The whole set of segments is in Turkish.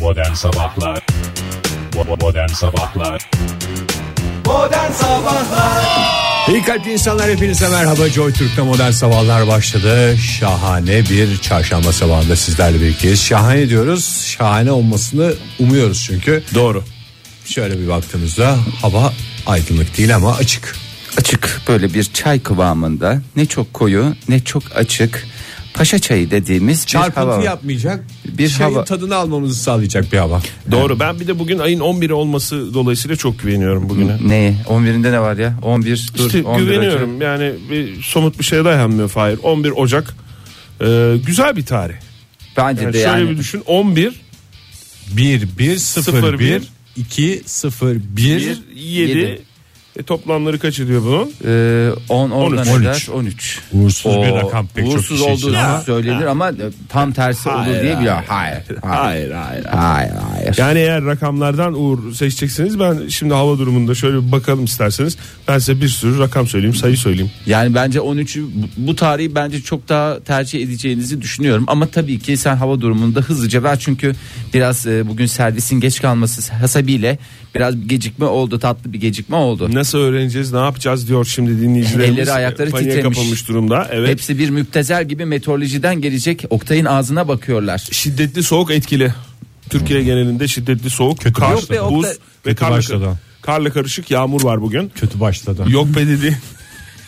Modern Sabahlar Bo- Modern Sabahlar Modern Sabahlar İyi kalpli insanlar hepinize merhaba Joy Türk'te modern sabahlar başladı Şahane bir çarşamba sabahında sizlerle birlikteyiz Şahane diyoruz şahane olmasını umuyoruz çünkü Doğru. Şöyle bir baktığımızda hava aydınlık değil ama açık Açık böyle bir çay kıvamında ne çok koyu ne çok açık paşa çayı dediğimiz bir hava. Çarpıntı var. yapmayacak bir Bir şeyin hava- tadını almamızı sağlayacak bir hava Doğru ben bir de bugün ayın 11'i olması dolayısıyla çok güveniyorum bugüne. Neye? 11'inde ne var ya? 11 dur. İşte 11 güveniyorum yani bir somut bir şeye dayanmıyor Fahir. 11 Ocak e, güzel bir tarih. Ocak. Bence Yani E de şöyle yani. bir düşün 11 1 1 0 Sıfır, 1 bir. 2 0 1 1 7 Yedi. e, toplamları kaç ediyor bunun? Ee, 10 oradan 13. 13. 13. Uğursuz O, bir rakam pek çok uğursuz kişi için olduğu ama- söylenir ama e, tam tersi olur diye biliyorum. Hayır. Hayır. Hayır. Hayır. hayır. Yani eğer rakamlardan uğur seçecekseniz ben şimdi hava durumunda şöyle bir bakalım isterseniz. Ben size bir sürü rakam söyleyeyim sayı söyleyeyim. Yani bence 13'ü bu- bu tarihi bence çok daha tercih edeceğinizi düşünüyorum. Ama tabii ki sen hava durumunda hızlıca ver çünkü biraz e, bugün servisin geç kalması hasabiyle biraz bir gecikme oldu tatlı bir gecikme oldu. Nasıl öğreneceğiz ne yapacağız diyor şimdi dinleyicilerimiz. Elleri, ayakları Paniğe titremiş. kapılmış durumda. Evet. Hepsi bir müptezel gibi meteorolojiden gelecek Oktay'ın ağzına bakıyorlar. Şiddetli soğuk etkili. Türkiye genelinde şiddetli soğuk, kar, Yok be, buz Oktay. ve Kötü karla, başladı. karla karışık yağmur var bugün. Kötü başladı Yok be dediğin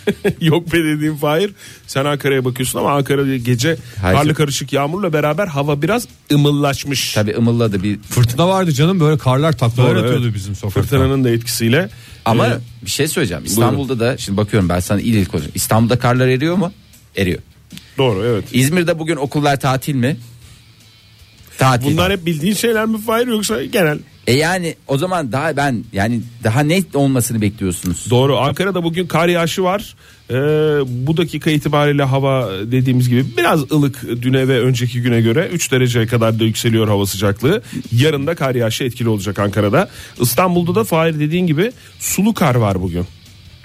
Yok be dediğim Fahir. Sen Ankara'ya bakıyorsun ama Ankara'da gece Hayır. karla karışık yağmurla beraber hava biraz ımıllaşmış. Tabii ımılladı bir Fırtına vardı canım böyle karlar taklalar Doğru, atıyordu evet. bizim sokakta Fırtınanın da etkisiyle. ama Ee, bir şey söyleyeceğim. İstanbul'da da şimdi bakıyorum ben sana il il konuşuyorum. İstanbul'da karlar eriyor mu? Eriyor. doğru evet. İzmir'de bugün okullar tatil mi? Tatil. Bunlar hep bildiğin şeyler mi Fahir yoksa genel? E yani o zaman daha ben yani daha net olmasını bekliyorsunuz. Doğru. Ankara'da bugün kar yağışı var. Ee, bu dakika itibariyle hava dediğimiz gibi biraz ılık düne ve önceki güne göre 3 dereceye kadar da yükseliyor hava sıcaklığı. Yarın da kar yağışı etkili olacak Ankara'da. İstanbul'da da Fahir dediğin gibi sulu kar var bugün.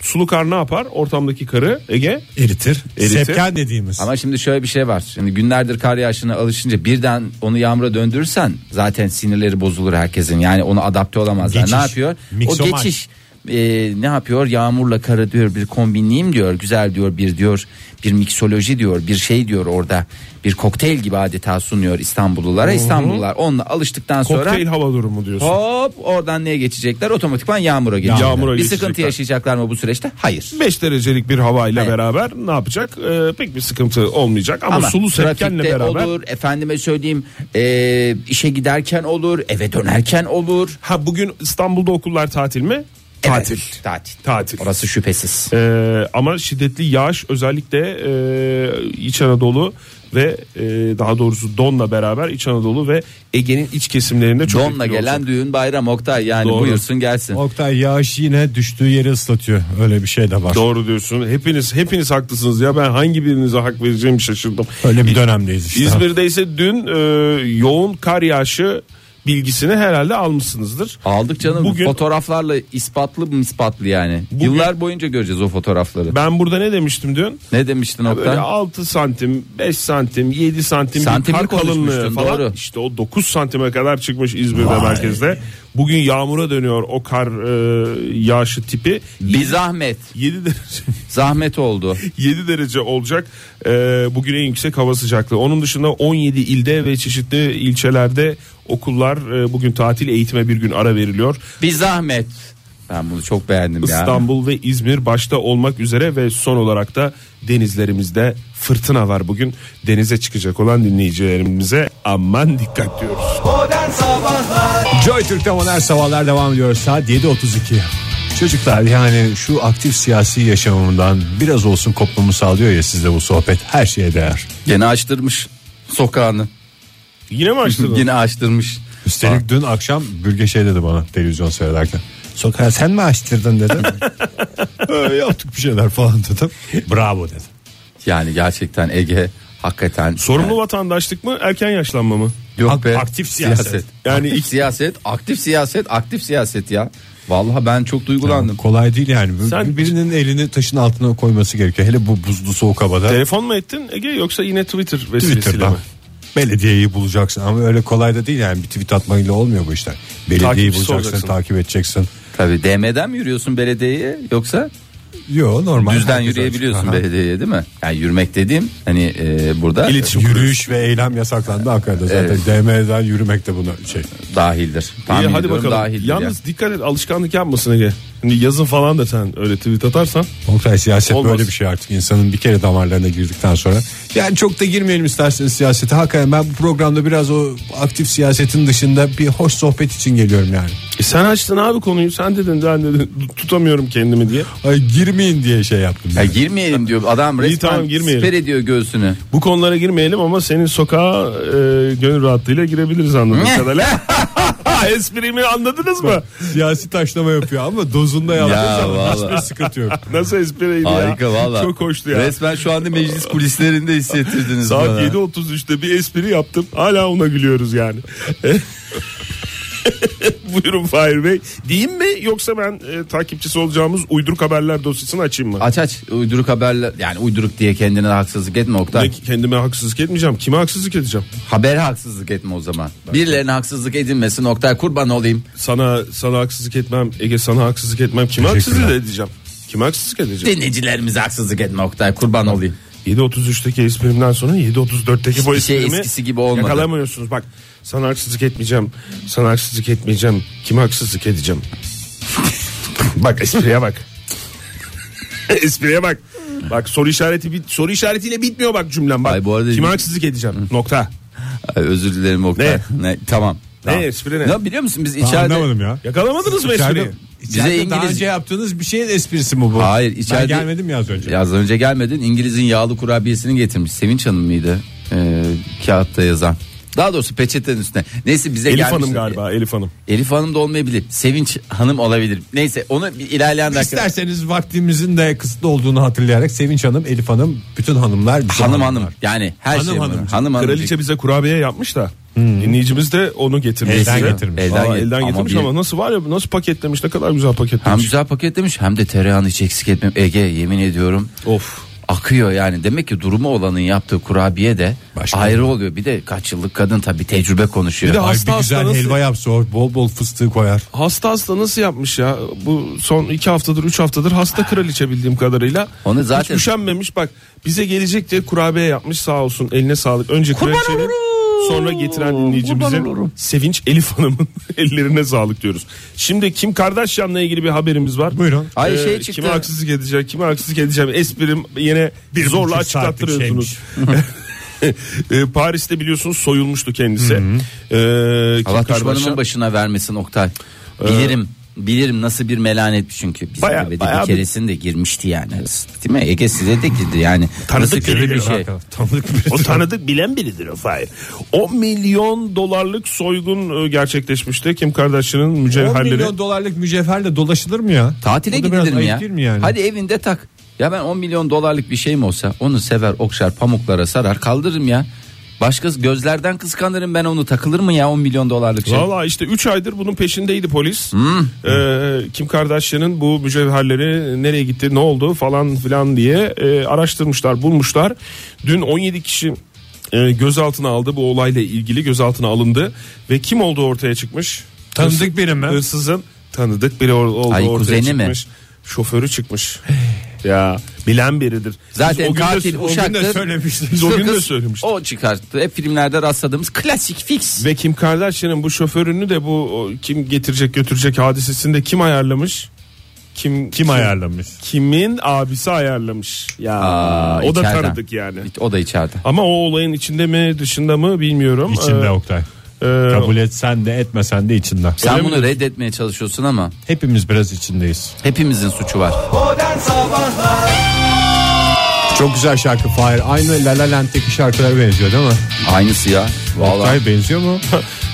Sulu kar ne yapar? Ortamdaki karı Ege Eritir. Eritir. Sepken dediğimiz. Ama şimdi şöyle bir şey var. Şimdi günlerdir kar yağışına alışınca birden onu yağmura döndürürsen zaten sinirleri bozulur herkesin. Yani onu adapte olamazlar. Geçiş. Ne yapıyor? Mixomaç. O geçiş e, ne yapıyor? Yağmurla karı diyor bir kombinleyeyim diyor. Güzel diyor bir diyor bir miksoloji diyor bir şey diyor orada. Bir kokteyl gibi adeta sunuyor İstanbullulara. İstanbullular onunla alıştıktan sonra kokteyl hava durumu diyorsun. Hop oradan neye geçecekler? Otomatikman yağmura geçecekler. Yağmura bir geçecekler. sıkıntı yaşayacaklar mı bu süreçte? Hayır. 5 derecelik bir havayla Evet. beraber ne yapacak? Ee, pek bir sıkıntı olmayacak ama, Ama sulu sepkenle trafikte beraber olur, efendime söyleyeyim, e, işe giderken olur, eve dönerken olur. Ha bugün İstanbul'da okullar tatil mi? Evet, Tatil. tatil. Tatil. Orası şüphesiz. Ee, ama şiddetli yağış özellikle e, İç Anadolu ve e, daha doğrusu donla beraber İç Anadolu ve Ege'nin iç kesimlerinde çok Donla etkili gelen olacak. düğün bayram Oktay yani Doğru. buyursun gelsin. Oktay yağış yine düştüğü yeri ıslatıyor. Öyle bir şey de var. Doğru diyorsun. Hepiniz hepiniz haklısınız ya ben hangi birinize hak vereceğimi şaşırdım. Öyle bir dönemdeyiz işte. İzmir'de ise dün e, yoğun kar yağışı bilgisini herhalde almışsınızdır. Aldık canım Bugün- fotoğraflarla ispatlı mı ispatlı yani. Bugün- Yıllar boyunca göreceğiz o fotoğrafları. Ben burada ne demiştim dün? Ne demiştin Böyle Oktay? 6 santim, 5 santim, 7 santim bir Santimli kar kalınlığı konuşmuştun, falan. doğru. İşte o 9 santime kadar çıkmış İzmir'de Vay. merkezde. Bugün yağmura dönüyor o kar e, yağışı tipi. Bir zahmet. 7 derece, Zahmet oldu. 7 derece olacak e, bugün en yüksek hava sıcaklığı. Onun dışında 17 ilde ve çeşitli ilçelerde okullar e, bugün tatil eğitime bir gün ara veriliyor. Bir zahmet. Ben bunu çok beğendim ya. İstanbul ve İzmir başta olmak üzere ve son olarak da denizlerimizde fırtına var bugün. Denize çıkacak olan dinleyicilerimize aman dikkat diyoruz. Modern Sabahlar Joy Türk'te modern sabahlar devam ediyor. Saat 7.32. Çocuklar yani şu aktif siyasi yaşamımdan biraz olsun kopmamı sağlıyor ya sizde bu sohbet. Her şeye değer. Gene açtırmış sokağını. Yine mi açtın? Yine açtırmış. Üstelik dün akşam Bürge şey dedi bana televizyon seyrederken. Sokağa sen mi açtırdın dedim. "Ee, yaptık bir şeyler falan dedim. Bravo dedim. Yani gerçekten Ege hakikaten Sorumlu vatandaşlık mı erken yaşlanma mı? Yok be. aktif siyaset. Yani Yani aktif ilk- siyaset, aktif siyaset, aktif siyaset ya. Vallahi ben çok duygulandım. Kolay değil yani. Bir- Sen- Birinin elini taşın altına koyması gerekiyor. Hele bu buzlu soğuk havada. Telefon mu ettin Ege yoksa yine Twitter vesilesiyle Twitter'dan. mi? Belediyeyi bulacaksın ama öyle kolay da değil yani bir tweet atmayla olmuyor bu işler. Belediyeyi Takipçisi bulacaksın, olacaksın. takip edeceksin. Tabii DM'den mi yürüyorsun belediyeye yoksa Yo normal. düzden Herkes yürüyebiliyorsun açık. Aha. belediyeye değil mi? Yani yürümek dediğim hani e, burada Yürüyüş ve eylem yasaklandı Ankara'da zaten. Evet. DM'den yürümek de buna şey. dahildir. Tahmin İyi hadi ediyorum bakalım. dahildir Yalnız yani. dikkat et alışkanlık yapmasın Ege. Hani yazın falan da sen öyle tweet atarsan. Oktay siyaset Olmaz. böyle bir şey artık insanın bir kere damarlarına girdikten sonra. Yani çok da girmeyelim isterseniz siyasete. Hakikaten ben bu programda biraz o aktif siyasetin dışında bir hoş sohbet için geliyorum yani. E sen açtın abi konuyu sen dedin ben dedin tutamıyorum kendimi diye. Ay girmeyin diye şey yaptım. Ya girmeyelim diyor adam resmen tamam, girmeyelim. siper ediyor göğsünü. Bu konulara girmeyelim ama senin sokağa e, gönül rahatlığıyla girebiliriz anladığım Ne? kadarıyla. Esprimi anladınız mı? Siyasi taşlama yapıyor ama dozunda Ya yaptığı zaman vallahi. hiçbir sıkıntı yok. Nasıl espriydi ya? Harika valla. Çok hoştu ya. Resmen şu anda meclis kulislerinde hissettirdiniz Saat bana. 7.33'te bir espri yaptım. Hala ona gülüyoruz yani. Buyurun Fahir Bey. Diyeyim mi yoksa ben e, takipçisi olacağımız uyduruk haberler dosyasını açayım mı? Aç aç uyduruk haberler yani uyduruk diye kendine haksızlık etme Oktay. Ne, kendime haksızlık etmeyeceğim. Kime haksızlık edeceğim? Habere haksızlık etme o zaman. Birilerine haksızlık edilmesin Oktay kurban olayım. Sana sana haksızlık etmem. Ege sana haksızlık etmem. Kime haksızlık edeceğim? Kime haksızlık edeceğim? Dinleyicilerimize haksızlık etme Oktay kurban olayım. 7.33'teki esprimden sonra 7.34'teki bu Hiçbir şey esprimi eskisi gibi olmadı. yakalamıyorsunuz. Bak sana haksızlık etmeyeceğim. Sana haksızlık etmeyeceğim. Kime haksızlık edeceğim? bak espriye bak. espriye bak. Bak soru işareti bit soru işaretiyle bitmiyor bak cümlem bak. Ay, bu arada- Kime haksızlık edeceğim? Nokta. Ay, özür dilerim Oktay. Ne? Tamam. Ne, tamam. espri ne? biliyor musun biz Ben içeride Anlamadım ya. Yakalamadınız mı E, İçeride- espriyi? içeride Bize daha İngiliz- önce yaptığınız bir şeyin esprisi mi bu? Hayır, içeride- Ben gelmedim ya az önce. Ya az önce gelmedin İngiliz'in yağlı kurabiyesini getirmiş. Sevinç Hanım mıydı? Ee, kağıtta yazan. Daha doğrusu peçetenin üstüne. Neyse bize Elif gelmiş. Hanım galiba Elif Hanım. Elif Hanım da olmayabilir. Sevinç Hanım olabilir. Neyse onu bir ilerleyen dakika. İsterseniz vaktimizin de kısıtlı olduğunu hatırlayarak Sevinç Hanım, Elif Hanım, bütün hanımlar. bütün Hanım hanımlar. hanım. Yani her Hanım şey hanım. Hmm. hanım. Hanım hanım. Kraliçe bize kurabiye yapmış da. Dinleyicimiz de onu getirmiş. Elden bize. getirmiş. Aa, Elden elden, get- ama getirmiş bir- ama, nasıl var ya nasıl paketlemiş ne kadar güzel Hem paketlemiş. güzel paketlemiş hem de tereyağını hiç eksik etmem. Ege yemin ediyorum. Of. akıyor yani demek ki durumu olanın yaptığı kurabiye de Başka ayrı oluyor bir de kaç yıllık kadın tabi tecrübe konuşuyor. Bir de Ay Hasta bir hasta güzel nasıl- helva yapsa o bol bol fıstığı koyar. Hasta hasta nasıl yapmış ya? Bu son iki haftadır, üç haftadır hasta kraliçe bildiğim kadarıyla. Onu zaten- Hiç üşenmemiş bak bize gelecek diye kurabiye yapmış sağ olsun eline sağlık. Önce kraliçenin sonra getiren dinleyicimizin Sevinç Elif Hanım'ın ellerine sağlık diyoruz. Şimdi Kim Kardashian'la ilgili bir haberimiz var. Buyurun. Ay Ee, şey çıktı. Kime haksızlık edeceğim, kime haksızlık edeceğim esprim yine bir zorla buçuk saatlik açıklattırıyorsunuz. Ee, Paris'te biliyorsunuz soyulmuştu kendisi. Ee, Kim Allah Kardashian- düşmanımın başına vermesin Oktay. Ee, Bilirim. Bilirim nasıl bir melanet çünkü bizim Baya- eve de baya bir bir- keresinde girmişti yani. Değil mi? Ege size de girdi yani. Tanıdık nasıl kötü bir geliyor şey. O tanıdık bilen biridir o Fahir. 10 milyon dolarlık soygun e, gerçekleşmişti. Kim Kardashian'ın 10 mücevherleri. milyon dolarlık mücevherle dolaşılır mı ya? Tatile O da biraz gidilir mi ayıp ya? değil mi yani? Hadi evinde tak. Ya ben 10 milyon dolarlık bir şeyim olsa onu sever okşar pamuklara sarar kaldırırım ya. Başkası gözlerden kıskanırım ben onu takılır mı ya 10 milyon dolarlık şey? Valla işte 3 aydır bunun peşindeydi polis. Ee, Kim Kardashian'ın bu mücevherleri nereye gitti, ne oldu falan filan diye e, araştırmışlar, bulmuşlar. Dün 17 kişi e, gözaltına aldı bu olayla ilgili gözaltına alındı ve kim olduğu ortaya çıkmış. Tanıdık biri mi? Hırsızın tanıdık biri or- olduğu Ay, ortaya kuzeni mi? çıkmış. Şoförü çıkmış. ya bilen biridir. Biz Zaten o gün de- katil o gün de uşaktır. söylemiştik. Biz o gün de Sakız, söylemiştik. O çıkarttı. Hep filmlerde rastladığımız klasik fix. Ve Kim Kardashian'ın bu şoförünü de bu o, kim getirecek götürecek hadisesinde kim ayarlamış? Kim Kim ayarlamış? Kimin abisi ayarlamış. Ya Aa, o da içeriden. tanıdık yani. O da içeride. Ama o olayın içinde mi dışında mı bilmiyorum. İçinde Ee, Oktay. e, Kabul etsen de etmesen de içinde. Sen Öyle bunu mi? reddetmeye çalışıyorsun ama Hepimiz biraz içindeyiz. hepimizin suçu var. Modern Sabahlar Çok güzel şarkı Fahir. Aynı La La Land'deki şarkılara benziyor değil mi? Aynısı ya. Vallahi Oktay benziyor mu?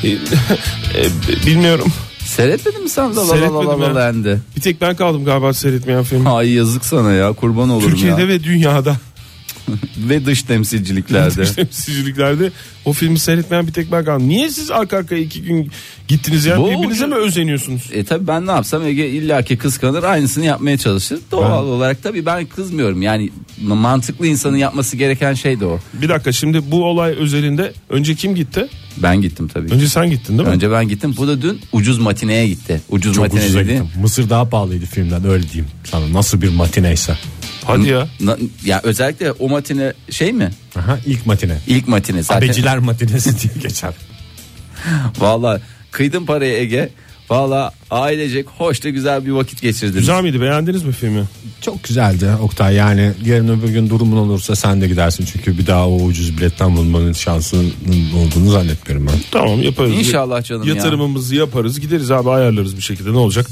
e, e, bilmiyorum. seyretmedin mi sen de la la la Seyretmedim la ya. la lendi? Bir tek ben kaldım galiba seyretmeyen film. Ay yazık sana ya kurban olurum Türkiye'de ya. ve dünyada. ve dış temsilciliklerde. temsilciliklerde o filmi seyretmeyen bir tek ben kaldım. Niye siz arka arkaya iki gün gittiniz ya? Bu- Birbirinize mi özeniyorsunuz? E tabi ben ne yapsam Ege illaki kıskanır aynısını yapmaya çalışır. Doğal olarak tabi ben kızmıyorum. Yani mantıklı insanın yapması gereken şey de o. Bir dakika şimdi bu olay özelinde önce kim gitti? Ben gittim tabii. Önce, Önce sen gittin değil mi? ben gittim. Bu da dün ucuz matineye gitti. Ucuz Çok matine ucuza dedi. gittim. Mısır daha pahalıydı filmden öyle diyeyim sana. Nasıl bir matineyse. Hadi ya. Na- ya özellikle o matine şey mi? Aha, ilk matine. İlk matine zaten. Abeciler matinesi diye geçer. Valla kıydım parayı Ege. Valla ailecek hoş da güzel bir vakit geçirdiniz. Güzel miydi beğendiniz mi filmi? Çok güzeldi Oktay yani yarın öbür gün durumun olursa sen de gidersin çünkü bir daha o ucuz biletten bulmanın şansının olduğunu zannetmiyorum ben. Tamam yaparız. İnşallah canım ya. Yatırımımızı yaparız gideriz abi ayarlarız bir şekilde ne olacak?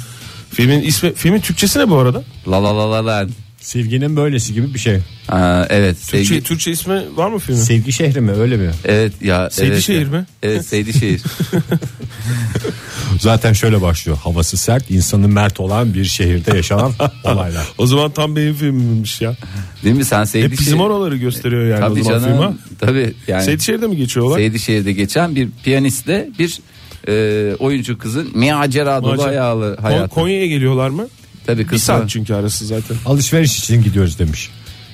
Filmin ismi filmin Türkçesi ne bu arada? La la la la la. Sevginin böylesi gibi bir şey. Aa, evet. sevgi- Türkçe, Türkçe ismi var mı filmin? Sevgi şehri mi öyle mi? Evet ya. Seydişehir evet, ya. mi? Evet Seydişehir. Zaten şöyle başlıyor. Havası sert, insanı mert olan bir şehirde yaşanan olaylar. o zaman tam benim filmimmiş ya. Değil mi sen Hep Seydişehir? E, bizim oraları gösteriyor yani o şey- Tabii zaman film ha. canım. Tabii yani. Seydişehir'de mi geçiyorlar? Seydişehir'de geçen bir piyanistle bir e, oyuncu kızın macera dolu Macera. hayali Kon- hayatı. Konya'ya geliyorlar mı? Tabii Bir kısmı. saat çünkü arası zaten. Alışveriş için gidiyoruz demiş.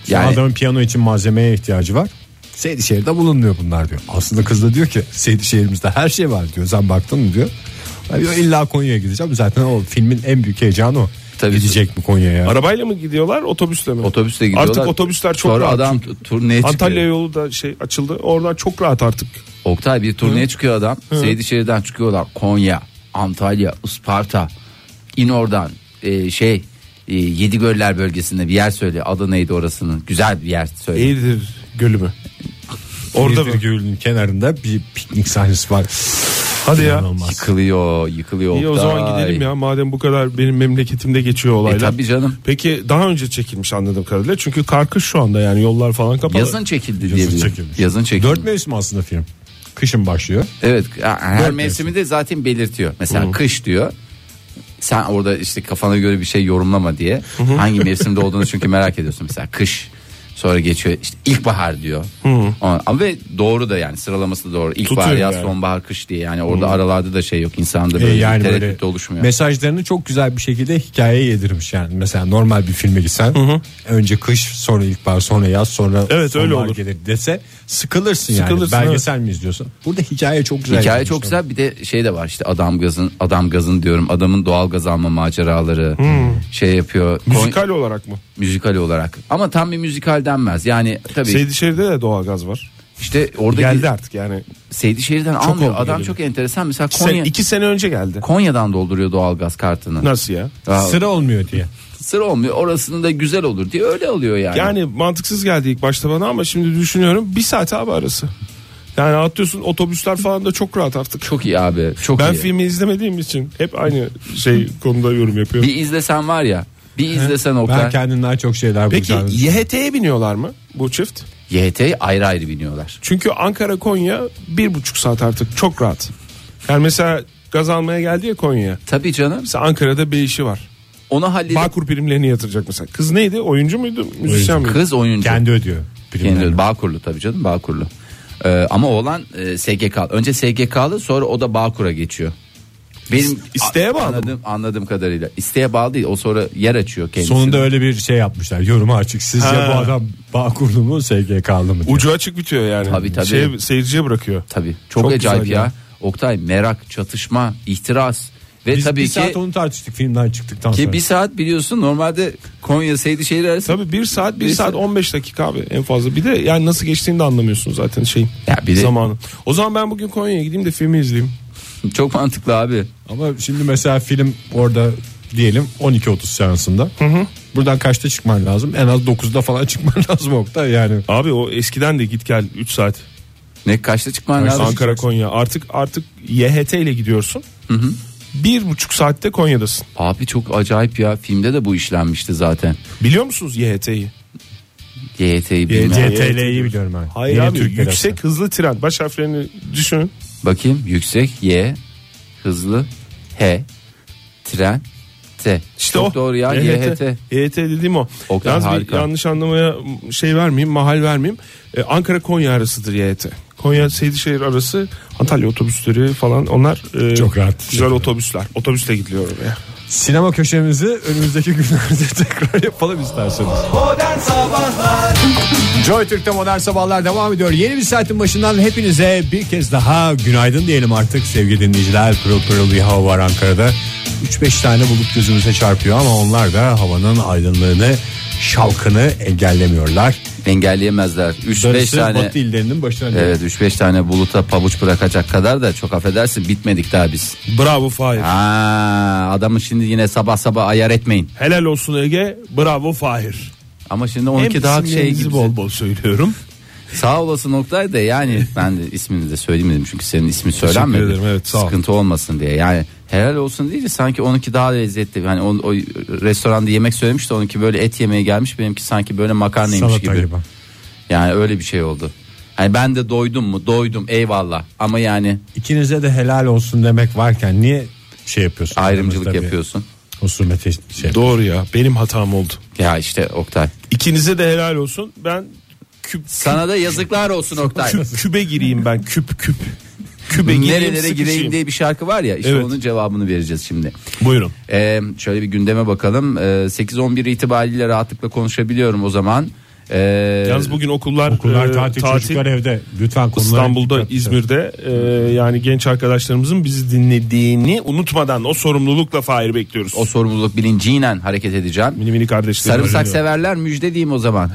Şu Yani- adamın piyano için malzemeye ihtiyacı var. Seydişehir'de bulunmuyor bunlar diyor. Aslında kız da diyor ki Seydişehir'imizde her şey var diyor. Sen baktın mı diyor. Ben diyor illa Konya'ya gideceğim. Zaten o filmin en büyük heyecanı o. Tabii. Gidecek mi Konya'ya? Arabayla mı gidiyorlar otobüsle mi? Otobüsle gidiyorlar. Artık otobüsler çok Sonra rahat. adam t- turneye Antalya çıkıyor. yolu da şey açıldı. Oradan çok rahat artık. Oktay bir turneye çıkıyor adam. Seydişehir'den çıkıyorlar. Konya, Antalya, Isparta. İn oradan e, şey e, Yedigöller bölgesinde bir yer söyle. Adı neydi orasının? Güzel bir yer söyle. Eğirdir Gölü mü? Orada mı? bir gölün kenarında bir piknik sahnesi var. Hadi ya. İnanılmaz. Yıkılıyor, yıkılıyor. İyi o Oktay. zaman gidelim ya madem bu kadar benim memleketimde geçiyor E olaylar. tabii canım. Peki daha önce çekilmiş anladığım kadarıyla. Çünkü karkış şu anda yani yollar falan kapalı. Yazın çekildi diye Yazın biliyorum. çekilmiş. Yazın çekildi. Dört mevsim aslında film. Kışın başlıyor. Evet her Dört mevsimi de zaten belirtiyor. Mesela kış diyor. Sen orada işte kafana göre bir şey yorumlama diye. Hangi mevsimde olduğunu çünkü merak ediyorsun. Mesela kış sonra geçiyor işte ilkbahar diyor. Ama ama ve doğru da yani sıralaması da doğru. İlkbahar, Tutuyor yaz, yani. sonbahar, kış diye. Yani orada aralarda da şey yok. insanda E, böyle bir yani böyle tereddüt de oluşmuyor. mesajlarını çok güzel bir şekilde hikayeye yedirmiş yani mesela normal bir filme gitsen önce kış sonra ilkbahar sonra yaz sonra Evet, öyle sonbahar olur. gelir dese sıkılırsın, Sıkılırsın, yani belgesel mi izliyorsun burada hikaye çok güzel Hikaye yedirmiş çok yani. güzel bir de şey de var işte adam gazın adam gazın diyorum adamın doğal gaz alma maceraları şey yapıyor Kon- Müzikal olarak mı? müzikal olarak ama tam bir müzikal denmez yani Şey tabii Seydişehir'de de doğalgaz var. İşte oradaki Geldi artık yani. Seydişehir'den almıyor. oldu Adam geleli. çok enteresan. Mesela Sen, Konya, iki sene önce geldi. Konya'dan dolduruyor doğalgaz kartını. Nasıl ya? Aa, sıra olmuyor diye Sıra olmuyor. Orasını da güzel olur diye öyle alıyor yani. Yani mantıksız geldi ilk başta bana ama şimdi düşünüyorum bir saat abi arası. Yani atlıyorsun otobüsler falan da çok rahat artık. Çok iyi abi. Çok Ben iyi. filmi izlemediğim için hep aynı şey konuda yorum yapıyorum. Bir izlesen var ya. Bir izlesen o ben kadar. kendinden çok şeyler Peki bulacağım şey. YHT'ye biniyorlar mı bu çift? YHT'ye ayrı ayrı biniyorlar. Çünkü Ankara Konya bir buçuk saat artık çok rahat. Yani mesela gaz almaya geldi ya Konya'ya. Tabii canım. Mesela Ankara'da bir işi var. Onu halledip Bağkur primlerini yatıracak mesela. Kız neydi? Oyuncu muydu? Müzisyen miydi? kız oyuncu. kendi ödüyor Kendi- primlerini. Bağkurlu tabii canım Bağkurlu. Ee, ama oğlan e, SGK. Önce SGK'lı sonra o da Bağkur'a geçiyor. Benim isteğe bağlı mı? anladığım, anladığım kadarıyla. İsteğe bağlı değil. O sonra yer açıyor kendisine. Sonunda öyle bir şey yapmışlar. Yoruma açık. Sizce Ha. bu adam Bağkurlu mu, SGK'lı mı? diye. Ucu açık bitiyor yani. Tabii, tabii. Şeye, seyirciye bırakıyor. Tabii. Çok, Çok acayip güzel ya. ya. Oktay merak, çatışma, ihtiras ve Biz e, tabii bir ki saat onu tartıştık filmden çıktıktan sonra. ki bir saat biliyorsun normalde Konya Seydişehir arası. Tabii bir saat bir Bir saat saat. 15 dakika abi en fazla. Bir de yani nasıl geçtiğini de anlamıyorsun zaten şeyin Ya bir de- zamanı. O zaman ben bugün Konya'ya gideyim de filmi izleyeyim. Çok mantıklı abi. Ama şimdi mesela film orada diyelim 12.30 seansında. Buradan kaçta çıkman lazım? En az 9'da falan çıkman lazım Oktay yani. Abi o eskiden de git gel 3 saat. Ne kaçta çıkman lazım? Ankara Konya artık artık YHT ile gidiyorsun. Bir buçuk saatte Konya'dasın. Abi çok acayip ya. Filmde de bu işlenmişti zaten. Biliyor musunuz YHT'yi? YHT'yi bilmem. CTL'yi biliyorum ben. Hayır Yeni abi Türk yüksek Lirası. hızlı tren. Baş harflerini düşünün. Bakayım yüksek Y hızlı H tren YHT. İşte Çok o. E doğru ya E YHT. YHT dediğim o. Oktay, Yalnız bir harika. yanlış anlamaya şey vermeyeyim, mahal vermeyeyim. Ee, Ankara Konya arasıdır YHT. Konya Seydişehir arası Antalya otobüsleri falan onlar e, Çok rahat. Güzel otobüsler. Otobüsle gidiliyor oraya. Sinema köşemizi önümüzdeki günlerde tekrar yapalım isterseniz. Modern Sabahlar Joy Türk'te modern sabahlar devam ediyor. Yeni bir saatin başından hepinize bir kez daha günaydın diyelim artık sevgili dinleyiciler. Pırıl pırıl bir hava var Ankara'da. 3-5 tane bulut gözümüze çarpıyor ama onlar da havanın aydınlığını, şalkını engellemiyorlar. Engelleyemezler. 3-5 Darısı tane. Batı illerinin başına. Evet. Evet 3-5 tane buluta pabuç bırakacak kadar da çok affedersin bitmedik daha biz. Bravo Fahir. Aa, adamı şimdi yine sabah sabah ayar etmeyin. Helal olsun Ege. Bravo Fahir. Ama şimdi Hem 12 daha şey isimlerinizi gibi. bol bol söylüyorum. Sağ olasın Oktay da yani ben de ismini de söyleyeyim dedim çünkü senin ismi söylenmedi. ederim, evet, sağ ol. Sıkıntı olmasın diye. Yani helal olsun değil de sanki onunki daha lezzetli. Hani o, o restoranda yemek söylemiş de onunki böyle et yemeğe gelmiş benimki sanki böyle makarnaymış Salata gibi. gibi. Yani öyle bir şey oldu. Hani ben de doydum mu? Doydum eyvallah. Ama yani İkinize de helal olsun demek varken niye şey yapıyorsun? ayrımcılık Tabii, yapıyorsun. Husumete şey. Doğru ya. Benim hatam oldu. Ya işte Oktay. İkinize de helal olsun. Ben küp Sana da yazıklar olsun Oktay. küp kübe gireyim ben. Küp küp. Kübe gireyim. Nerelere gireyim sıkışayım. diye bir şarkı var ya işte Evet. onun cevabını vereceğiz şimdi. Buyurun. Ee, şöyle bir gündeme bakalım. Ee, 8-11 itibariyle rahatlıkla konuşabiliyorum o zaman. Ee, Yalnız bugün okullar, Okullar e, Ee, tatil, çocuklar evde. Lütfen konulara İstanbul'da, dikkat edin. İzmir'de e, yani genç arkadaşlarımızın bizi dinlediğini unutmadan o sorumlulukla Fahir bekliyoruz. o sorumluluk bilinciyle hareket edeceğim. mini mini kardeşlerim. Sarımsak arıyor. severler müjde diyeyim o zaman.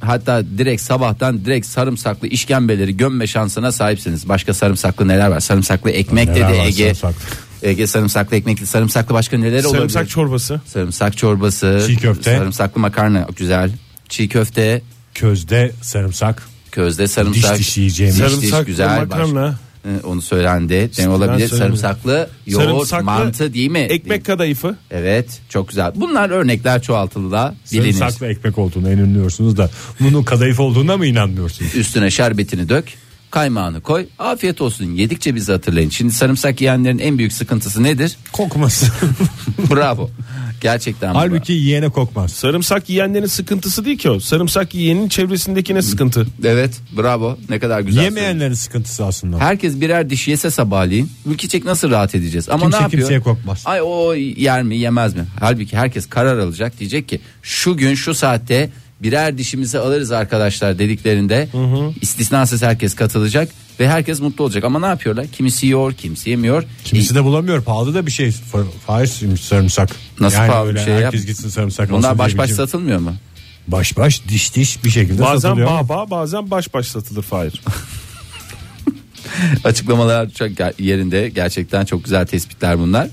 Hatta direkt sabahtan direkt sarımsaklı işkembeleri gömme şansına sahipsiniz. Başka sarımsaklı neler var? Sarımsaklı ekmek Neler dedi var Ege. sarımsaklı? Ege sarımsaklı ekmekli sarımsaklı başka neler olabilir? Sarımsak çorbası. Sarımsak çorbası, Çiğ köfte. sarımsaklı makarna güzel. Çiğ köfte, Közde sarımsak. közde Diş sarımsak. diş yiyeceğimiz. Diş Sarımsaklı diş güzel makarna. baş- Ee, onu söylendi. ne olabilir? söylemedim. Sarımsaklı yoğurt, Sarımsaklı mantı değil mi? Ekmek kadayıfı. Evet, çok güzel. Bunlar örnekler çoğaltılı bilinir. Sarımsaklı ekmek olduğuna inanıyorsunuz da bunun kadayıf olduğuna mı inanmıyorsunuz? Üstüne şerbetini dök. Kaymağını koy. Afiyet olsun. Yedikçe bizi hatırlayın. Şimdi sarımsak yiyenlerin en büyük sıkıntısı nedir? Kokmaz. Bravo. Gerçekten. bravo. Halbuki yiyene kokmaz. Sarımsak yiyenlerin sıkıntısı değil ki o. Sarımsak yiyenin çevresindekine sıkıntı. Evet, bravo. Ne kadar güzel. söyledin. Yemeyenlerin sıkıntısı aslında. Herkes birer diş yese sabahleyin ülkecek nasıl rahat edeceğiz? Ama Kimse ne yapıyor? kimseye korkmaz. Ay o yer mi yemez mi? Halbuki herkes karar alacak diyecek ki şu gün şu saatte birer dişimizi alırız arkadaşlar dediklerinde istisnasız herkes katılacak ve herkes mutlu olacak. Ama ne yapıyorlar? Kimisi yiyor, kimisi yemiyor. Kimisi de bulamıyor. Pahalı da bir şey. Fa- Faiz sarımsak. Nasıl pahalı öyle bir şey ya? Herkes gitsin sarımsak Bunlar alsın baş diye baş bir şey- satılmıyor mu? Baş baş diş diş bir şekilde Bazen satılıyor. bağ bağ bazen baş baş satılır Fahir. Açıklamalar çok ger- yerinde gerçekten çok güzel tespitler bunlar.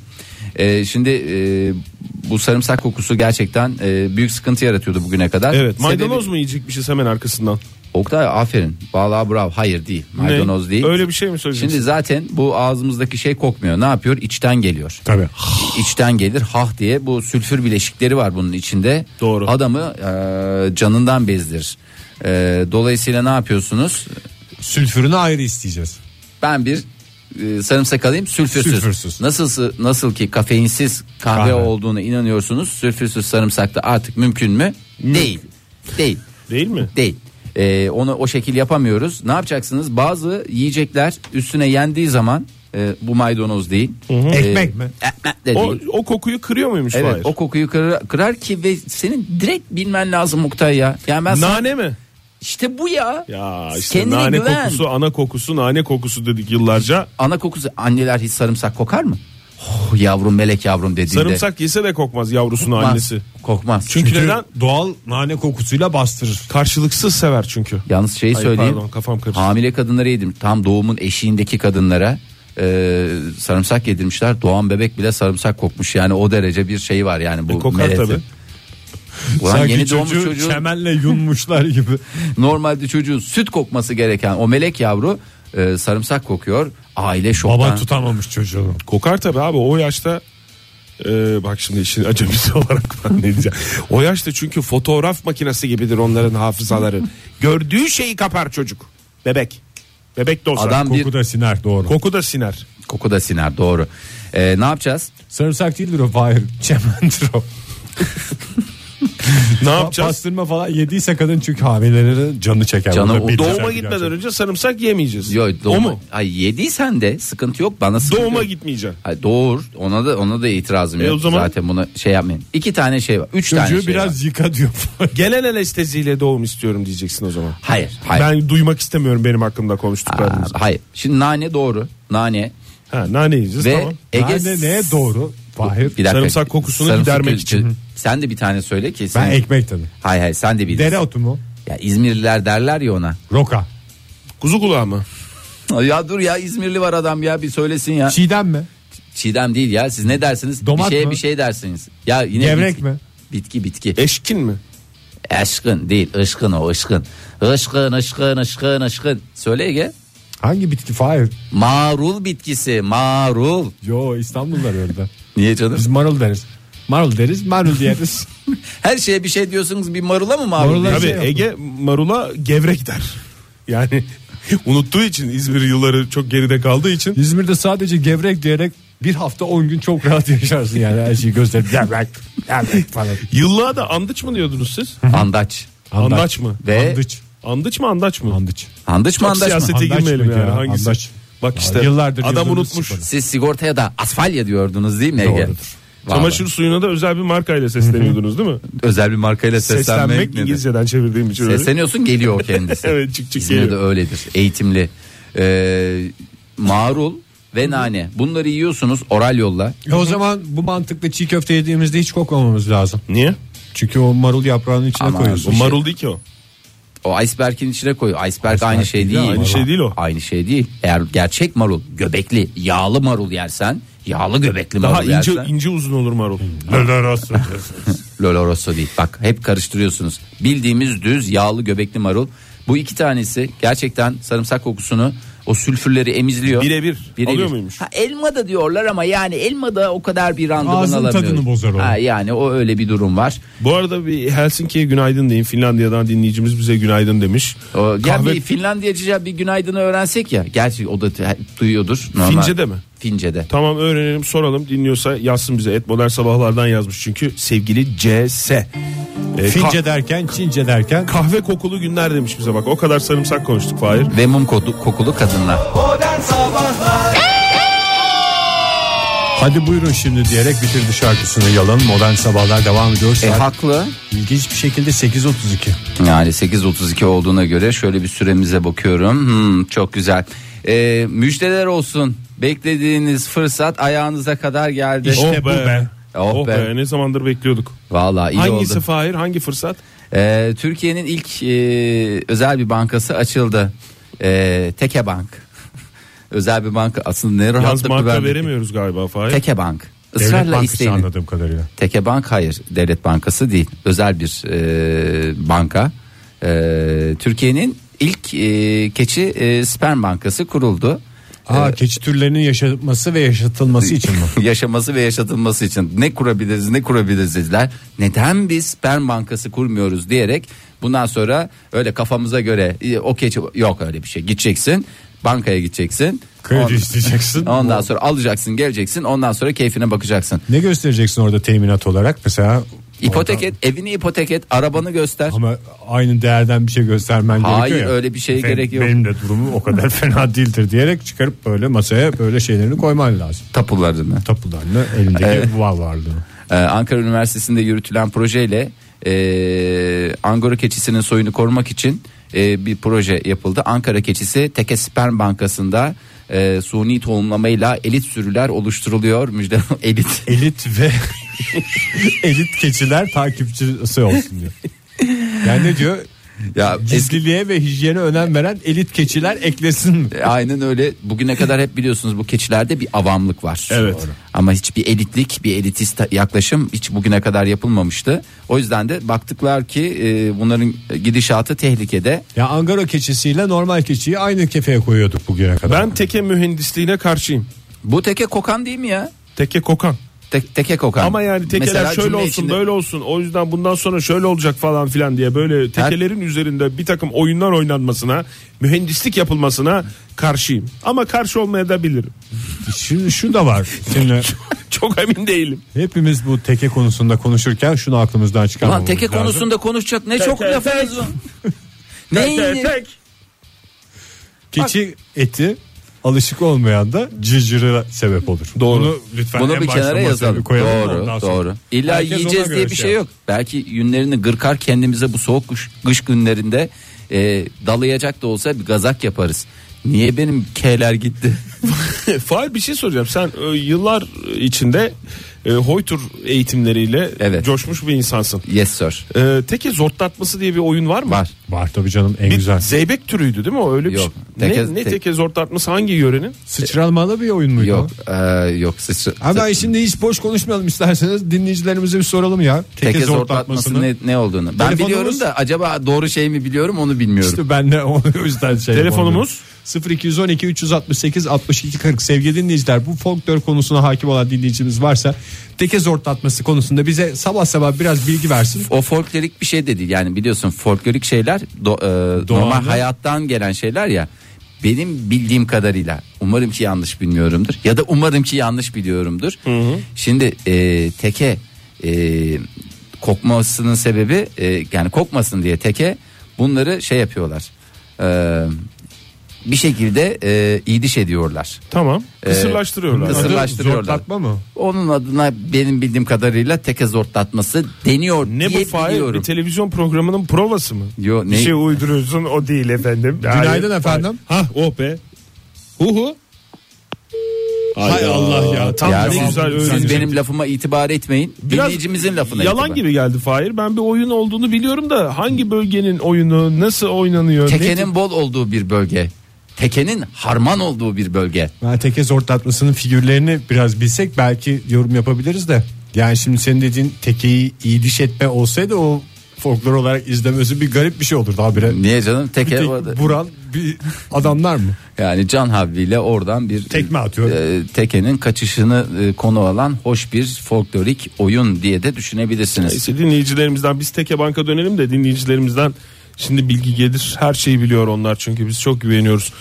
Ee, şimdi e, bu sarımsak kokusu gerçekten e, büyük sıkıntı yaratıyordu bugüne kadar. Evet Sebebi- maydanoz mu yiyecekmişiz hemen arkasından? Oktay aferin. Vallahi bravo. Hayır değil. Maydanoz Ne? değil. Öyle bir şey mi Şimdi söyleyeceksin? zaten bu ağzımızdaki şey kokmuyor. Ne yapıyor? İçten geliyor. Tabii. İçten gelir hah diye bu sülfür bileşikleri var bunun içinde. Doğru. Adamı e, canından bezdir. E, dolayısıyla ne yapıyorsunuz? Sülfürünü ayrı isteyeceğiz. Ben bir e, sarımsak alayım sülfürsüz. Sülfürsüz. Nasıl nasıl ki kafeinsiz kahve, Kahve. olduğuna inanıyorsunuz. Sülfürsüz sarımsak da artık mümkün mü? Değil. Değil. Değil mi? değil. Ee, onu o şekil yapamıyoruz. Ne yapacaksınız? Bazı yiyecekler üstüne yendiği zaman e, bu maydanoz değil. Ee, Ekmek mi? ekmek de O, değil. o kokuyu kırıyor muymuş evet, Fahir? o kokuyu kırar, kırar ki ve senin direkt bilmen lazım Oktay ya. Yani ben sana- Nane mi? işte bu ya. Ya işte Kendine nane güven. kokusu, ana kokusu, nane kokusu dedik yıllarca. Ana kokusu anneler hiç sarımsak kokar mı? Oh, yavrum melek yavrum dediğinde. Sarımsak yese de kokmaz yavrusunun kokmaz. annesi. Kokmaz. Çünkü, Çünkü neden? doğal nane kokusuyla bastırır. Karşılıksız sever çünkü. Yalnız şeyi Ay, söyleyeyim. pardon, kafam karıştı. Hamile kadınlara yedim. Tam doğumun eşiğindeki kadınlara e, sarımsak yedirmişler. Doğan bebek bile sarımsak kokmuş. Yani o derece bir şey var yani bu. E, kokar melezi. tabii. Ulan Sanki yeni doğmuş çocuğu çocuğun çemenle yunmuşlar gibi. normalde çocuğun süt kokması gereken o melek yavru e, sarımsak kokuyor. Aile şoktan. Baba tutamamış çocuğunu. Kokar tabii abi o yaşta Ee, bak şimdi işin acemisi olarak ben ne diyeceğim. O yaşta çünkü fotoğraf makinesi gibidir onların hafızaları. Gördüğü şeyi kapar çocuk. Bebek. Bebek de olsa. Adam bir Koku da siner doğru. Koku da siner. koku da siner doğru. E, ne yapacağız? Sarımsak değildir o Fahir. Çemendir o. Ne Pa- yapacağız? Pastırma falan yediyse kadın çünkü hamilelerin canı çeker. Canı Bunu da o- bilin. Doğuma Gerçekten. gitmeden önce sarımsak yemeyeceğiz. Yo, doğuma- O mu? Ay yediysen de sıkıntı yok bana sıkıntı Doğuma yok. gitmeyeceğim. Ay, doğur. Ona da ona da itirazım E, yok. o zaman- Zaten buna şey yapmayın. İki tane şey var. Üç tane Çocuğu şey biraz var. yıka diyor. Genel anesteziyle doğum istiyorum diyeceksin o zaman. Hayır. Hayır. Ben duymak istemiyorum benim hakkımda Aa, konuştuklarınızı. hayır. Şimdi nane doğru. Nane Ha, nane yiyeceğiz ve tamam. Ege Nane neye doğru? Fahir. Bir dakika. Sarımsak kokusunu gidermek kö- için. Sen de bir tane söyle ki sen. Ben ekmek tabii. Hayır hayır sen de bir. Dereotu mu? Ya İzmirliler derler ya ona. Roka. Kuzu kulağı mı? Ya dur ya İzmirli var adam ya bir söylesin ya. Çiğdem mi? Çiğdem değil ya siz ne dersiniz? Domat bir şeye mı? bir şey dersiniz. Ya yine Gevrek bitki, mi? Bitki bitki. Eşkin mi? Aşkın değil ışkın o ışkın. Işkın ışkın ışkın ışkın. Söyle Ege. Hangi bitki Fahir? Marul bitkisi marul. Yo İstanbul'da öyle de. Niye canım? Biz marul deriz. Marul deriz, marul deriz. Her şeye bir şey diyorsunuz bir marula mı marul? Marula- diyor? Tabii şey yaptım. Ege marula gevrek der. Yani unuttuğu için İzmir yılları çok geride kaldığı için İzmir'de sadece gevrek diyerek bir hafta 10 gün çok rahat yaşarsın yani her şeyi gösterip gevrek, gevrek falan. yıllığa da andıç mı diyordunuz siz? Andaç. Andaç, mı? Ve Andıç. Andıç mı andaç mı? Andıç. andaç mı Çok andaç mı? siyasete Andaç girmeyelim mıydı yani ya, hangisi? andaç. Bak işte yıllardır adam gözümüzün unutmuş. sıfırı. Siz sigortaya da asfalya diyordunuz değil mi Ege? Doğrudur. Vallahi. Çamaşır suyuna da özel bir markayla sesleniyordunuz değil mi? özel bir markayla seslenmek, Seslenmek nedir? İngilizceden çevirdiğim için öyle. Sesleniyorsun geliyor o kendisi. Evet, çık çık İzmir'de geliyor. öyledir. Eğitimli. Ee, marul ve nane. Bunları yiyorsunuz oral yolla. E o zaman bu mantıkla çiğ köfte yediğimizde hiç kokmamamız lazım. Niye? Çünkü o marul yaprağının içine Ama O koyuyorsun. marul değil ki o. O iceberg'in içine koy. Iceberg, aynı şey değil, değil. aynı şey değil o. Aynı şey değil. Eğer gerçek marul, göbekli, yağlı marul yersen, yağlı göbekli Daha marul ince yersen. ince uzun olur marul. Lolo Rosso değil. Bak hep karıştırıyorsunuz. Bildiğimiz düz yağlı göbekli marul. Bu iki tanesi gerçekten sarımsak kokusunu o sülfürleri emizliyor. Birebir. Alıyor muymuş? Ha, elma da diyorlar ama yani elma da o kadar bir randıman Ağzın alamıyor. tadını bozar o. Ha, yani o öyle bir durum var. Bu arada bir Helsinki'ye günaydın deyin. Finlandiya'dan dinleyicimiz bize günaydın demiş. O, gel Kahve bir Finlandiyacıca bir günaydını öğrensek ya. Gerçi o da te- duyuyordur. Normal. Fince'de mi? Fince'de. Tamam öğrenelim soralım dinliyorsa yazsın bize et modern sabahlardan yazmış çünkü sevgili CS. Ee, E, Fince kah- derken, Çince derken kahve kokulu günler demiş bize bak o kadar sarımsak konuştuk Fahir. Ve mum kodu- kokulu kadınlar. Modern Sabahlar hadi buyurun şimdi diyerek bitirdi şarkısını yalan. Modern sabahlar devam ediyor. E Saat haklı. ilginç bir şekilde 8.32. Yani 8.32 olduğuna göre şöyle bir süremize bakıyorum. Hmm, çok güzel. Ee, müjdeler olsun. Beklediğiniz fırsat ayağınıza kadar geldi. İşte bu be. Oh Oh be. be ne zamandır bekliyorduk. Vallahi iyi Hangisi oldu. Fahir hangi fırsat? Ee, Türkiye'nin ilk e, özel bir bankası açıldı. Ee, Teke Bank. özel bir banka aslında ne Yalnız rahatlık marka verdi. veremiyoruz galiba Fahir. Teke Bank. Devlet Israrla Bankası isteyin. anladığım kadarıyla. Teke Bank hayır devlet bankası değil özel bir e, banka. E, Türkiye'nin ilk e, keçi e, sperm bankası kuruldu. Aa, keçi türlerinin yaşatması ve yaşatılması için mi? Yaşaması ve yaşatılması için ne kurabiliriz ne kurabiliriz dediler. Neden biz sperm bankası kurmuyoruz diyerek bundan sonra öyle kafamıza göre e, o keçi yok öyle bir şey gideceksin bankaya gideceksin. Kredi Ondan- isteyeceksin. Ondan sonra alacaksın geleceksin ondan sonra keyfine bakacaksın. Ne göstereceksin orada teminat olarak? Mesela İpotek orada- et evini ipotek et arabanı göster. Ama aynı değerden bir şey göstermen Hayır, gerekiyor ya. öyle bir şeye Efendim, gerek yok. Benim de durumum o kadar fena değildir diyerek çıkarıp böyle masaya böyle şeylerini koyman lazım. Tapularını. Tapularını elindeki var varlığını. Ee, Ankara Üniversitesi'nde yürütülen projeyle e, Angora keçisinin soyunu korumak için e, bir proje yapıldı. Ankara keçisi Teke Sperm Bankası'nda e, suni tohumlamayla elit sürüler oluşturuluyor. Müjde elit. Elit ve elit keçiler takipçisi olsun diyor. Yani ne diyor? Ya eski Gizliliğe ve hijyene önem veren elit keçiler eklesin mi? Aynen öyle. Bugüne kadar hep biliyorsunuz bu keçilerde bir avamlık var. Evet. Doğru. Ama hiçbir elitlik, bir elitist yaklaşım hiç bugüne kadar yapılmamıştı. O yüzden de baktıklar ki e, bunların gidişatı tehlikede. Ya Angara keçisiyle normal keçiyi aynı kefeye koyuyorduk bugüne kadar. Ben teke mühendisliğine karşıyım. Bu teke kokan değil mi ya? Teke kokan. tek, teke kokan. Ama yani tekeler Mesela şöyle cümle olsun içinde- böyle olsun o yüzden bundan sonra şöyle olacak falan filan diye böyle tekelerin üzerinde bir takım oyunlar oynanmasına mühendislik yapılmasına karşıyım. Ama karşı olmaya da bilirim. Şimdi şu da var. Şimdi Çok emin değilim. hepimiz bu teke konusunda konuşurken şunu aklımızdan Ulan çıkarmamamız teke lazım. konusunda konuşacak ne çok tek, lafınız var. Tek, tek, ne? tek. Keçi eti alışık olmayan da cırcırı sebep olur. Doğru. Bunu lütfen Bunu en bir başta kenara masaya yazalım. bir koyalım. Ondan doğru, sonra doğru. İlla herkes yiyeceğiz ona diye göre bir şey yok. Belki yünlerini gırkar kendimize bu soğuk kış, kış günlerinde e, dalayacak da olsa bir gazak yaparız. Niye benim K'ler gitti? Fahir bir şey soracağım. Sen e, yıllar içinde e, hoytur eğitimleriyle Evet. coşmuş bir insansın. yes sir. E, teke zortlatması diye bir oyun var mı? Var. Var tabii canım en Bir güzel. zeybek türüydü değil mi o öyle bir Yok, şey? ne, teke- ne tek- teke zortlatması hangi yörenin? Sıçralmalı bir oyun muydu? Yok, e, yok. Sıçra, Hemen şimdi hiç boş konuşmayalım isterseniz dinleyicilerimize bir soralım ya. Teke, teke zortlatmasını. zortlatmasının ne, ne olduğunu. Ben Telefonumuz- biliyorum da acaba doğru şey mi biliyorum onu bilmiyorum. İşte ben de onu o yüzden şey Telefonumuz? yapamıyorum. 0212 368 62 40 sevgili dinleyiciler bu folklor konusuna hakim olan dinleyicimiz varsa teke zortlatması konusunda bize sabah sabah biraz bilgi versin. o folklorik bir şey de değil. Yani biliyorsun folklorik şeyler do- e, normal hayattan gelen şeyler ya. Benim bildiğim kadarıyla umarım ki yanlış bilmiyorumdur ya da umarım ki yanlış biliyorumdur. Şimdi e, teke e, kokmasının sebebi e, yani kokmasın diye teke bunları şey yapıyorlar. E, bir şekilde e, iyiliş ediyorlar. Tamam. Kısırlaştırıyorlar. kısır- Adı Sırlaştırıyorlar. Zortlatma mı? Onun adına benim bildiğim kadarıyla teke zortlatması deniyor Ne bu diye Fahir? biliyorum. Bir televizyon programının provası mı? Yo, Bir ne- şey uyduruyorsun o değil efendim. Günaydın efendim. Ha oh be. Hu hu. Hay Allah ya. Tam Ya Ne siz, güzel siz öğrenecek. benim lafıma itibar etmeyin. Dinleyicimizin lafına yalan itibar. gibi geldi Fahir. Ben bir oyun olduğunu biliyorum da hangi bölgenin oyunu, nasıl oynanıyor? ne tip- Tekenin bol olduğu bir bölge. Tekenin harman olduğu bir bölge. Ben teke zortlatmasının figürlerini biraz bilsek belki yorum yapabiliriz de. Yani şimdi senin dediğin tekeyi iyi diş etme olsaydı o folklor olarak izlemesi bir garip bir şey olurdu habire. Niye canım? Bir Teke tek vuran bir adamlar mı? yani can havliyle oradan bir Tekme atıyor. e, tekenin kaçışını e, konu alan hoş bir folklorik oyun diye de düşünebilirsiniz. Neyse dinleyicilerimizden biz teke banka dönelim de dinleyicilerimizden şimdi bilgi gelir. Her şeyi biliyor onlar çünkü biz çok güveniyoruz.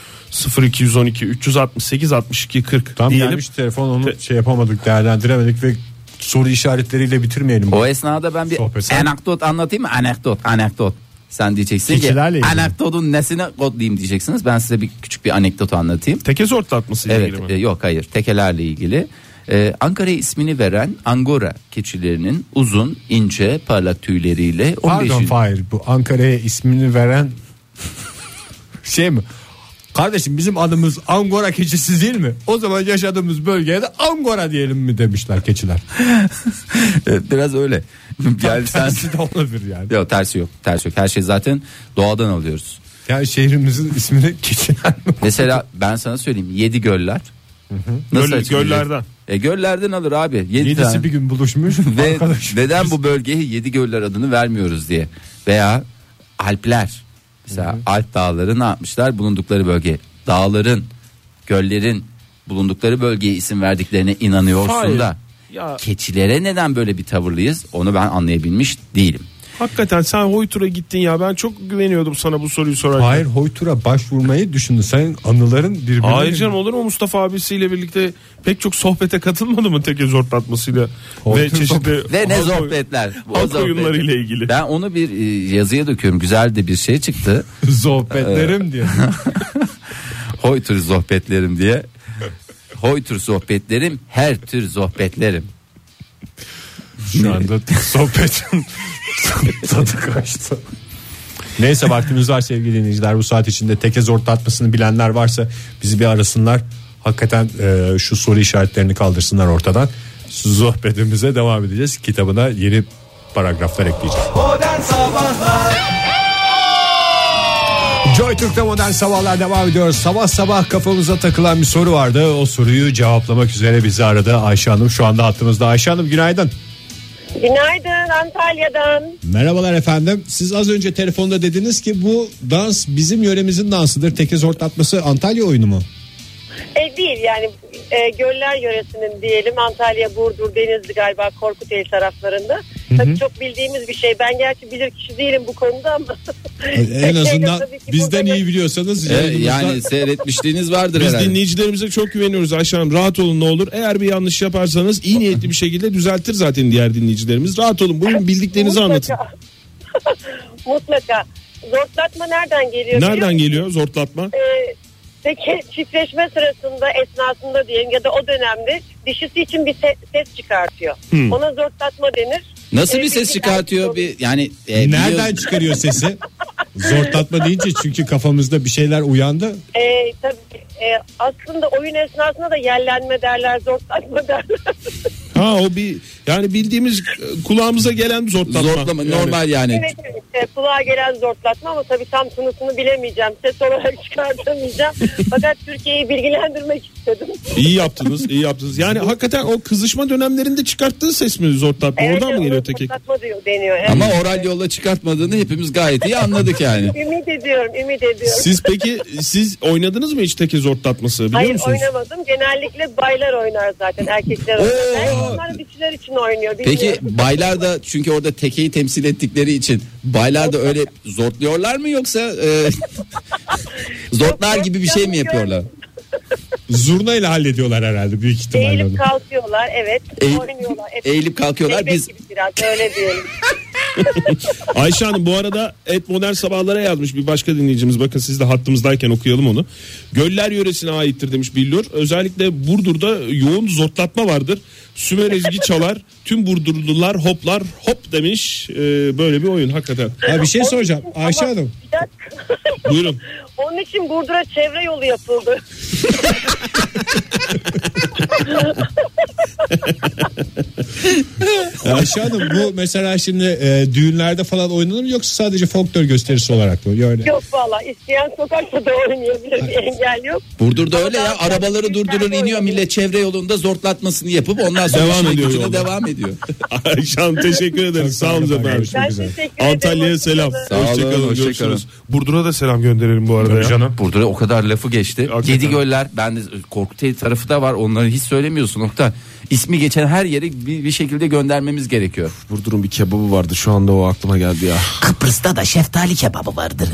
0212 368 62 40 Tam diyelim. gelmiş telefon onu şey yapamadık değerlendiremedik ve soru işaretleriyle bitirmeyelim. O esnada ben bir Sohbet. anekdot anlatayım mı? Anekdot, anekdot. Sen diyeceksin ki Keçilerle ilgili. anekdotun nesine kodlayayım diyeceksiniz. Ben size bir küçük bir anekdot anlatayım. Teke zortlatması ile Evet ilgili mi? e, yok hayır tekelerle ilgili. Ee, Ankara'ya ismini veren Angora keçilerinin uzun, ince, parlak tüyleriyle 15 Pardon yıl- Fahir bu Ankara'ya ismini veren şey mi? Kardeşim bizim adımız Angora keçisi değil mi? O zaman yaşadığımız bölgeye de Angora diyelim mi demişler keçiler. Evet, biraz öyle. yani sen Tersi de olabilir yani. yok tersi yok. Tersi yok. Her şey zaten doğadan alıyoruz. Yani şehrimizin ismini keçiler mi? Mesela ben sana söyleyeyim yedi göller. Nasıl Göl- açıklayacak? göllerden. E, göllerden alır abi. Yedi tane. Yedisi bir gün buluşmuş. Ve arkadaş. neden bu bölgeye yedi göller adını vermiyoruz diye. Veya Alpler. Mesela Alp dağları ne yapmışlar bulundukları bölge. Dağların, göllerin bulundukları bölgeye isim verdiklerine inanıyorsun Hayır. da. Ya- Keçilere neden böyle bir tavırlıyız onu ben anlayabilmiş değilim. Hakikaten sen Hoytur'a gittin ya ben çok güveniyordum sana bu soruyu sorarken. Hayır, Hayır Hoytur'a başvurmayı düşündü. Sen anıların birbirine... canım olur mu Mustafa abisiyle birlikte pek çok sohbete katılmadı mı teke zortlatmasıyla ve Hoytur çeşitli Ve ne halk oy- zohbetler. O Halk zohbet- oyunlarıyla ilgili. Ben onu bir e, yazıya döküyorum. Güzel de bir şey çıktı. Sohbetlerim diye. Hoytur sohbetlerim diye. Hoytur sohbetlerim, her tür sohbetlerim. Şu anda sohbetin tadı kaçtı. Neyse vaktimiz var sevgili dinleyiciler. Bu saat içinde teke zortlatmasını bilenler varsa bizi bir arasınlar. Hakikaten e, şu soru işaretlerini kaldırsınlar ortadan. Sohbetimize devam edeceğiz. Kitabına yeni paragraflar ekleyeceğiz. Modern Sabahlar Joy Türk'te modern sabahlar devam ediyor. Sabah sabah kafamıza takılan bir soru vardı. O soruyu cevaplamak üzere bizi aradı Ayşe Hanım. Şu anda hattımızda Ayşe Hanım günaydın. Günaydın Antalya'dan. Merhabalar efendim. Siz az önce telefonda dediniz ki bu dans bizim yöremizin dansıdır. Teke zortlatması Antalya oyunu mu? E, değil yani e, göller yöresinin diyelim Antalya, Burdur, Denizli galiba Korkuteli taraflarında. Tabii çok bildiğimiz bir şey. Ben gerçi bilir kişi değilim bu konuda ama. E, En azından Tabii ki bizden burada- iyi biliyorsanız E, yayınımızda- yani seyretmişliğiniz vardır Biz herhalde. dinleyicilerimize çok güveniyoruz Ayşe Hanım. Rahat olun ne olur. Eğer bir yanlış yaparsanız iyi niyetli bir şekilde düzeltir zaten diğer dinleyicilerimiz. Rahat olun. Buyurun bildiklerinizi anlatın. Mutlaka. Mutlaka. Zortlatma nereden geliyor? biliyor Nereden geliyor zortlatma? Ee, peki çiftleşme sırasında esnasında diyelim ya da o dönemde dişisi için bir se- ses çıkartıyor. Ona zortlatma denir. Nasıl Ee, bir ses bizim çıkartıyor erkek bir yani e, Nereden biliyorum- çıkarıyor sesi? Zortlatma deyince çünkü kafamızda bir şeyler uyandı. Ee, tabii, e, aslında oyun esnasında da yerlenme derler, zortlatma derler. Ha o bir yani bildiğimiz e, kulağımıza gelen zortlatma. zorlama Yani. normal yani. evet, evet, e, kulağa gelen zortlatma ama tabii tam tınısını bilemeyeceğim. Ses olarak çıkartamayacağım. Fakat Türkiye'yi bilgilendirmek istedim. İyi yaptınız, iyi yaptınız. Yani hakikaten o kızışma dönemlerinde çıkarttığı ses mi zortlatma? Oradan Evet, mı ona geliyor tekek? Zortlatma diyor, deniyor. Evet. Ama oral yolla çıkartmadığını hepimiz gayet iyi anladık yani. Ümit ediyorum, ümit ediyorum. Siz peki siz oynadınız mı hiç teke zortlatması biliyor Hayır musunuz? oynamadım. Genellikle baylar oynar zaten. Erkekler oynar. Oo. Belki onlar dişiler için oynuyor. Peki bilmiyorum. baylar da çünkü orada tekeyi temsil ettikleri için baylar da öyle zortluyorlar mı yoksa e, zortlar gibi bir şey mi yapıyorlar? Zurna ile hallediyorlar herhalde büyük ihtimalle. Eğilip kalkıyorlar evet. Eğil- oynuyorlar. Evet. Eğilip kalkıyorlar Bebek biz gibi biraz öyle diyelim. Ayşe Hanım bu arada et modern sabahlara yazmış bir başka dinleyicimiz. Bakın siz de hattımızdayken okuyalım onu. Göller yöresine aittir demiş Billur. Özellikle Burdur'da yoğun zortlatma vardır. Sümer ezgi çalar. Tüm Burdurlular hoplar hop demiş. Ee, böyle bir oyun hakikaten. Ya bir şey soracağım Ama Ayşe Hanım. bir dakika. Buyurun. Onun için Burdur'a çevre yolu yapıldı. Ayşe Hanım bu mesela şimdi e, düğünlerde falan oynanır mı yoksa sadece folklor gösterisi olarak mı? Yani Yok valla isteyen sokakta da oynuyor. Bile bir engel yok. Burdur'da Ama öyle ya daha- arabaları durdurur iniyor millet çevre yolunda zortlatmasını yapıp ondan sonra Devam işine ediyor gücüne yolda. devam ediyor. Ayşe Hanım teşekkür ederiz. Sağ olun efendim. Ben güzel. teşekkür ederim. Antalya'ya selam. Hoşçakalın. Sağ olun, Hoşçakalın. hoşçakalın. Görüşürüz. Burdur'a da selam gönderelim bu arada. Ya. Canım. Burdur'a o kadar lafı geçti. Hakikaten. Yedi göller ben de Korkuteli tarafı da var onları hiç söylemiyorsun nokta. İsmi geçen her yere bir, bir şekilde göndermemiz gerekiyor. Burdur'un bir kebabı vardı şu anda o aklıma geldi ya. Kıbrıs'ta da şeftali kebabı vardır.